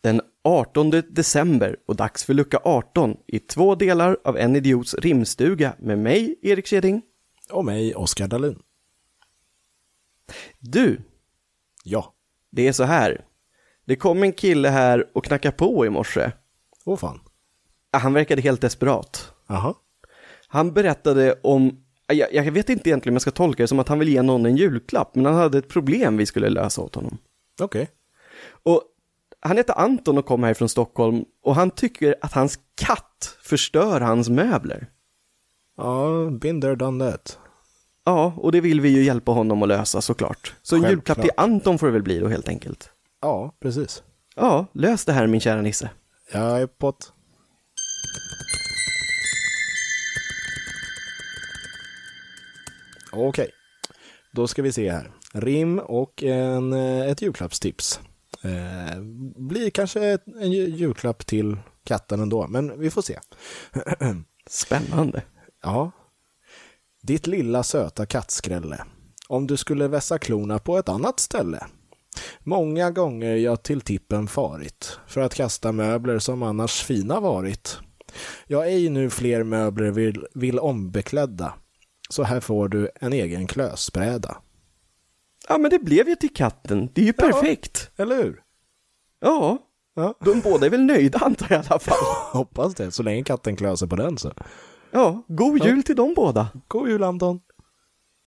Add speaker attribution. Speaker 1: Den 18 december och dags för lucka 18 i två delar av En Idiots rimstuga med mig, Erik Keding.
Speaker 2: Och mig, Oskar Dahlin.
Speaker 1: Du,
Speaker 2: Ja.
Speaker 1: det är så här. Det kom en kille här och knackade på i morse.
Speaker 2: Åh fan.
Speaker 1: Ah, Han verkade helt desperat.
Speaker 2: Aha.
Speaker 1: Han berättade om, jag, jag vet inte egentligen om jag ska tolka det som att han vill ge någon en julklapp, men han hade ett problem vi skulle lösa åt honom.
Speaker 2: Okej.
Speaker 1: Och han heter Anton och kommer här från Stockholm och han tycker att hans katt förstör hans möbler.
Speaker 2: Ja, been there, done that.
Speaker 1: Ja, och det vill vi ju hjälpa honom att lösa såklart. Så en
Speaker 2: Självklart.
Speaker 1: julklapp till Anton får det väl bli då helt enkelt.
Speaker 2: Ja, precis.
Speaker 1: Ja, lös det här min kära Nisse.
Speaker 2: Jag är på ett... Okej. Då ska vi se här. Rim och en, eh, ett julklappstips. Eh, blir kanske ett, en ju- julklapp till katten ändå, men vi får se.
Speaker 1: Spännande.
Speaker 2: Ja. Ditt lilla söta kattskrället. Om du skulle vässa klorna på ett annat ställe. Många gånger jag till tippen farit för att kasta möbler som annars fina varit. Jag ej nu fler möbler vill, vill ombeklädda. Så här får du en egen klösbräda.
Speaker 1: Ja, men det blev ju till katten. Det är ju perfekt.
Speaker 2: Eller hur?
Speaker 1: Ja,
Speaker 2: Ja.
Speaker 1: de båda är väl nöjda antar jag i alla fall.
Speaker 2: Hoppas det, så länge katten klöser på den så.
Speaker 1: Ja, god jul till de båda.
Speaker 2: God jul Anton!